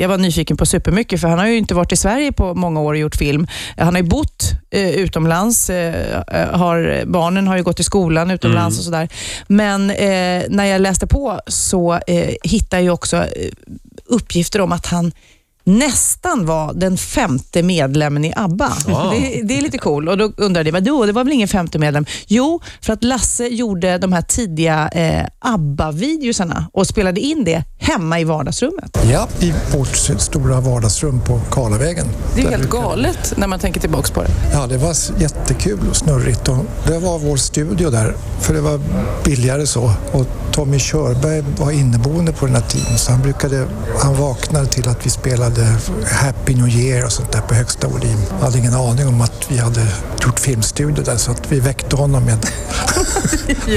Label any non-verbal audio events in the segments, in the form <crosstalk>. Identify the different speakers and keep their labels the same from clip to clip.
Speaker 1: jag var nyfiken på supermycket för han har ju inte varit i Sverige på många år och gjort film. Han har ju bott eh, utomlands, eh, har, barnen har ju gått i skolan utomlands
Speaker 2: Mm.
Speaker 1: och sådär. Men eh, när jag läste på så eh, hittade jag också eh, uppgifter om att han nästan var den femte medlemmen i ABBA.
Speaker 2: Wow.
Speaker 1: Det, det är lite cool. Och då undrade jag, vadå, det var väl ingen femte medlem? Jo, för att Lasse gjorde de här tidiga eh, ABBA-videosarna och spelade in det hemma i vardagsrummet.
Speaker 3: Ja, i vårt stora vardagsrum på Karlavägen.
Speaker 1: Det är ju
Speaker 3: Där
Speaker 1: helt
Speaker 3: brukar-
Speaker 1: galet när man tänker
Speaker 3: <laughs>
Speaker 1: tillbaka på det.
Speaker 3: Ja, det var s- jättekul och snurrigt. Och det var vår studio där, för det var billigare så. Och Tommy Körberg var inneboende på den här tiden, så han, brukade, han vaknade till att vi spelade Happy New Year och sånt där på högsta volym. Han hade ingen aning om att vi hade gjort filmstudio där, så att vi väckte honom med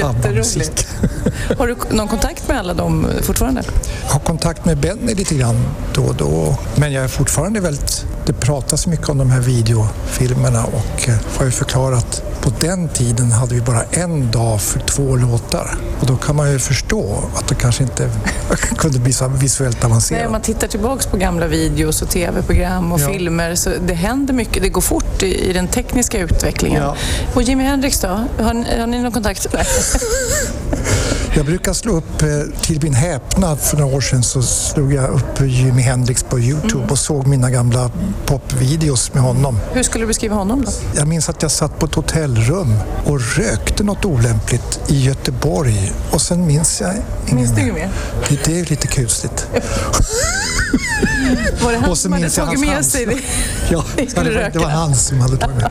Speaker 3: ABBA-musik.
Speaker 1: Har du någon kontakt med alla dem fortfarande?
Speaker 3: Jag har kontakt med Benny lite grann då och då. Men jag är fortfarande väldigt... Det pratas mycket om de här videofilmerna och eh, har ju förklarat på den tiden hade vi bara en dag för två låtar. Och då kan man ju förstå att det kanske inte <laughs> kunde bli så visuellt
Speaker 1: Nej, om
Speaker 3: avancerat.
Speaker 1: man tittar tillbaka på gamla videos och tv-program och
Speaker 3: Ja.
Speaker 1: filmer så det händer mycket. Det går fort i, i den tekniska utvecklingen.
Speaker 3: Ja.
Speaker 1: Och Jimi Hendrix då? Har, ni- har ni någon kontakt? Nej.
Speaker 3: Jag brukar slå upp, eh, till min häpnad för några år sedan så slog jag upp Jimi Hendrix på Youtube
Speaker 1: Mm.
Speaker 3: och såg mina gamla popvideos med honom.
Speaker 1: <laughs> Hur skulle du beskriva honom då?
Speaker 3: Jag minns att jag satt på ett hotellrum och rökte något olämpligt i Göteborg och sen minns jag ingen
Speaker 1: Minns du inget mer?
Speaker 3: Det- Det är ju lite kusligt.
Speaker 1: Var det han
Speaker 3: Och så
Speaker 1: som hade
Speaker 3: minns jag
Speaker 1: tagit
Speaker 3: hans
Speaker 1: med sig det?
Speaker 3: hand. Ja,
Speaker 1: Ni skulle
Speaker 3: det, var, det
Speaker 1: röka.
Speaker 3: var han som hade tagit med.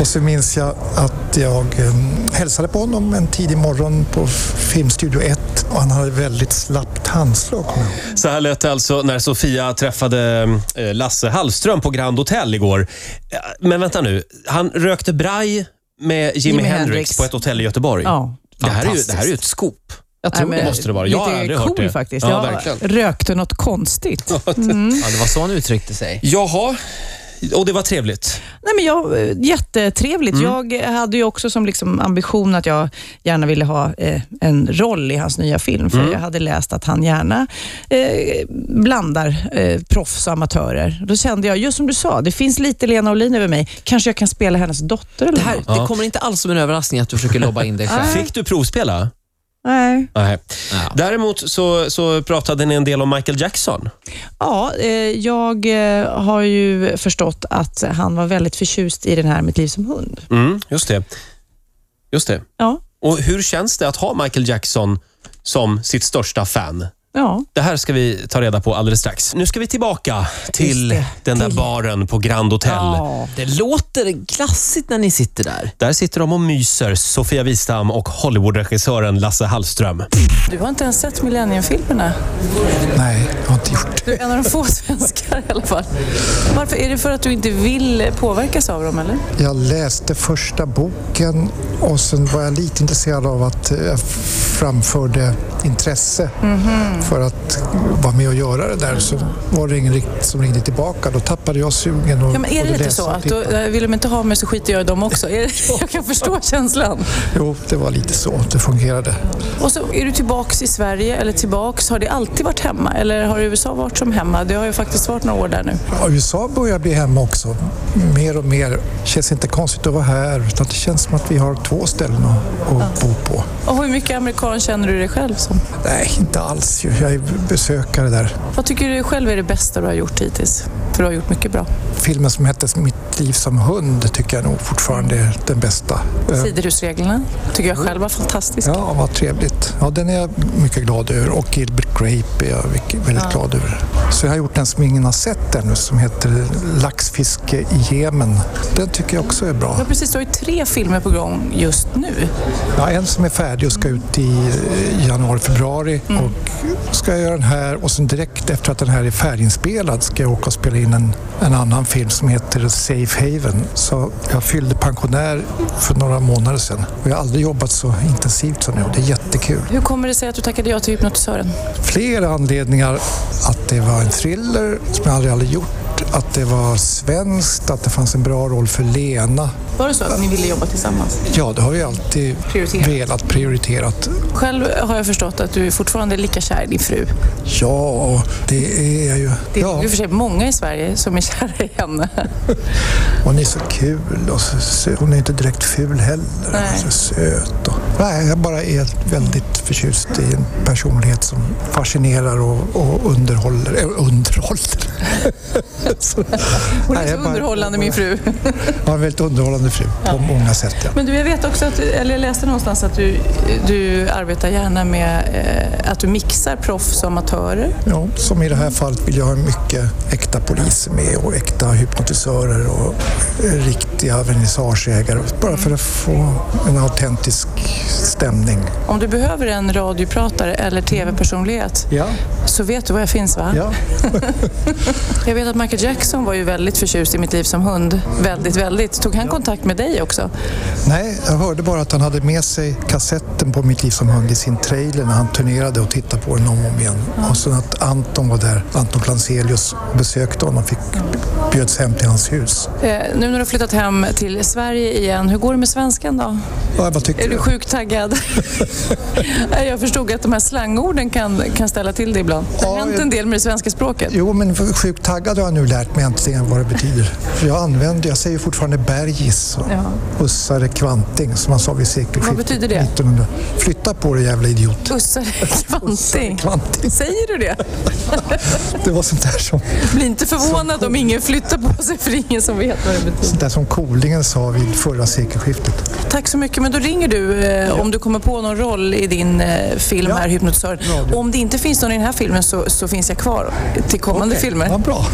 Speaker 3: Och så minns jag att jag eh, hälsade på honom en tidig morgon på F- Filmstudio 1 och han hade väldigt slappt handslag. kommer jag ihåg.
Speaker 2: Så här lät det alltså när Sofia träffade eh, Lasse Hallström på Grand Hotel igår. Eh, Men vänta nu, han rökte braj med Jimi
Speaker 1: Jimi
Speaker 2: Hendrix,
Speaker 1: Hendrix.
Speaker 2: på ett hotell i Göteborg.
Speaker 1: Ja.
Speaker 2: Det, här är ju,
Speaker 1: Fantastiskt.
Speaker 2: det här är ju ett scoop. Jag tror
Speaker 1: Nej, men
Speaker 2: det måste det vara. Jag har
Speaker 1: lite
Speaker 2: aldrig
Speaker 1: cool
Speaker 2: hört det.
Speaker 1: faktiskt.
Speaker 2: Ja,
Speaker 1: jag
Speaker 2: verkligen.
Speaker 1: rökte något konstigt.
Speaker 4: Ja, det var så han uttryckte sig.
Speaker 2: Jaha, och det var trevligt.
Speaker 1: Nej, men jag, eh, jättetrevligt.
Speaker 4: Mm.
Speaker 1: Jag hade ju också som liksom ambition att jag gärna ville ha eh, en roll i hans nya film,
Speaker 4: Mm.
Speaker 1: för jag hade läst att han gärna eh, blandar eh, proffs och amatörer. Då kände jag, just som du sa, det finns lite Lena Olin över mig. Kanske jag kan spela hennes dotter eller
Speaker 4: Det, här,
Speaker 1: något.
Speaker 4: det kommer inte alls som en överraskning att du försöker lobba in dig själv.
Speaker 2: Fick du provspela?
Speaker 1: Nej.
Speaker 2: <laughs> Nej.
Speaker 4: Ja.
Speaker 2: Däremot så, så pratade ni en del om Michael Jackson.
Speaker 1: Ja, eh, jag eh, har ju förstått att han var väldigt förtjust i den här Mitt liv som hund.
Speaker 2: Mm, just det. Just det.
Speaker 1: Ja,
Speaker 2: Och hur känns det att ha Michael Jackson som sitt största fan?
Speaker 1: ja.
Speaker 2: Det här ska vi ta reda på alldeles strax. Nu ska vi tillbaka till
Speaker 1: det,
Speaker 2: den där
Speaker 1: till-
Speaker 2: baren på Grand Hotel.
Speaker 1: ja.
Speaker 4: Det låter glassigt när ni sitter där.
Speaker 2: Där sitter de och myser, Sofia Wistam och Hollywoodregissören Lasse Hallström.
Speaker 1: Du har inte ens sett Millennium-filmerna.
Speaker 3: Nej, jag har inte gjort det.
Speaker 1: Du är en av de få <laughs> svenskar i alla fall. Varför? Är det för att du inte vill påverkas av dem, eller?
Speaker 3: Jag läste första boken och sen var jag lite intresserad av att eh, jag framförde intresse
Speaker 1: Mhm.
Speaker 3: för att vara med och göra det där. Så var det ingen rikt- som ringde tillbaka. Då tappade jag sugen. Och
Speaker 1: Ja, men är det
Speaker 3: både
Speaker 1: inte
Speaker 3: läsa
Speaker 1: så?
Speaker 3: och
Speaker 1: Att då,
Speaker 3: titta.
Speaker 1: eh, vill de inte ha mig så skiter jag i dem också.
Speaker 3: <laughs>
Speaker 1: Är det, jag kan förstå känslan.
Speaker 3: Jo, det var lite så. Det fungerade.
Speaker 1: Och så är du tillbaks i Sverige, eller tillbaks, har det alltid varit hemma? Eller har USA varit som hemma? Det har ju faktiskt varit några år där nu.
Speaker 3: Ja, USA börjar bli hemma också. Mer och mer. känns inte konstigt att vara här. Utan det känns som att vi har två ställen att, att bo på.
Speaker 1: Och hur mycket amerikan känner du dig själv som?
Speaker 3: Nej, inte alls. ju. Jag är besökare där.
Speaker 1: Vad tycker du själv är det bästa du har gjort hittills? För du har gjort mycket bra.
Speaker 3: Filmen som hette Mitt liv som hund tycker jag nog fortfarande är den bästa. Eh,
Speaker 1: Siderhusreglerna tycker jag själv var fantastisk.
Speaker 3: Ja, vad trevligt. Ja, den är jag mycket glad över. Och Gilbert Grape är jag mycket- väldigt glad över. Så jag har gjort en som ingen har sett ännu som heter Laxfiske i Jemen. Den tycker jag också är bra.
Speaker 1: Ja, precis. Du har ju tre filmer på gång just nu.
Speaker 3: Ja, en som är färdig och ska ut i eh, januari, februari. Och ska jag göra den här och sen direkt efter att den här är färdiginspelad ska jag åka och spela in en, en annan film som heter Safe Haven. Så jag fyllde pensionär för några månader sedan. Och jag har aldrig jobbat så intensivt som nu. Det är jättekul.
Speaker 1: Hur kommer det sig att du tackade ja till hypnotisören?
Speaker 3: flera anledningar. Att det var en thriller som jag aldrig hade gjort stort, att det var svenskt, att det fanns en bra roll för Lena.
Speaker 1: Var det så att ni ville jobba tillsammans?
Speaker 3: Ja, det har vi alltid
Speaker 1: Prioriterat.
Speaker 3: velat, prioriterat.
Speaker 1: Själv har jag förstått att du fortfarande är lika kär i din fru.
Speaker 3: Ja, det är jag ju.
Speaker 1: Det är
Speaker 3: Ja,
Speaker 1: i och för sig många i Sverige som är <laughs> kära i henne.
Speaker 3: hon är så kul och så, sö- hon är inte direkt ful heller.
Speaker 1: Nej.
Speaker 3: Hon är så söt. Och, nej, jag bara är väldigt förtjust i en personlighet som fascinerar och, och underhåller. Äh, underhåller? <laughs>
Speaker 1: Hon
Speaker 3: Nej,
Speaker 1: är så
Speaker 3: jag bara-
Speaker 1: underhållande,
Speaker 3: <laughs>
Speaker 1: min fru.
Speaker 3: Har en väldigt underhållande fru på många sätt. Ja.
Speaker 1: Men du, jag vet också att, eller jag läste någonstans att du, du arbetar gärna med eh, att du mixar proffs och amatörer.
Speaker 3: Ja, som i det här fallet vill jag ha mycket äkta poliser med och äkta hypnotisörer och eh, riktiga vernissageägare. Bara för att få en autentisk stämning.
Speaker 1: Om du behöver en radiopratare eller tv-personlighet
Speaker 3: Ja.
Speaker 1: så vet du var jag finns va?
Speaker 3: ja.
Speaker 1: Jag vet att Michael Jackson var ju väldigt förtjust i mitt liv som hund. Väldigt, väldigt. Tog han kontakt med dig också?
Speaker 3: Nej, jag hörde bara att han hade med sig kassetten på Mitt liv som hund i sin trailer när han turnerade och tittade på den om och om igen. Och sen att Anton var där, Anton Planzelius, och besökte honom och fick, bjöds hem till hans hus.
Speaker 1: Eh, nu när du har flyttat hem till Sverige igen, hur går det med svenskan då?
Speaker 3: Ja, vad tyckte
Speaker 1: Är du
Speaker 3: <laughs>
Speaker 1: sjukt taggad? Nej, jag förstod att de här slangorden kan, kan ställa till det ibland. Det har
Speaker 3: Ja,
Speaker 1: hänt
Speaker 3: jag-
Speaker 1: en del med det svenska språket.
Speaker 3: Jo, men för- sjukt taggad har jag nu lärt mig äntligen vad det betyder. För jag använder, jag säger fortfarande bergis och
Speaker 1: Ja.
Speaker 3: ussare kvanting som man sa vid sekelskiftet.
Speaker 1: Vad betyder det?
Speaker 3: 1900. Flytta på dig jävla idiot.
Speaker 1: Ussare kvanting.
Speaker 3: Kvanting.
Speaker 1: Säger du det?
Speaker 3: Det var sånt där som,
Speaker 1: Bli inte förvånad om ingen flyttar på sig för det är ingen som vet vad det betyder.
Speaker 3: sånt där som Kolingen sa vid förra sekelskiftet.
Speaker 1: Tack så mycket, men då ringer du eh, om du kommer på någon roll i din eh, film
Speaker 3: Ja.
Speaker 1: här, Hypnotisören.
Speaker 3: Radio.
Speaker 1: <laughs> Om det inte finns någon i den här filmen så, så finns jag kvar till kommande filmer.
Speaker 3: Ja, bra.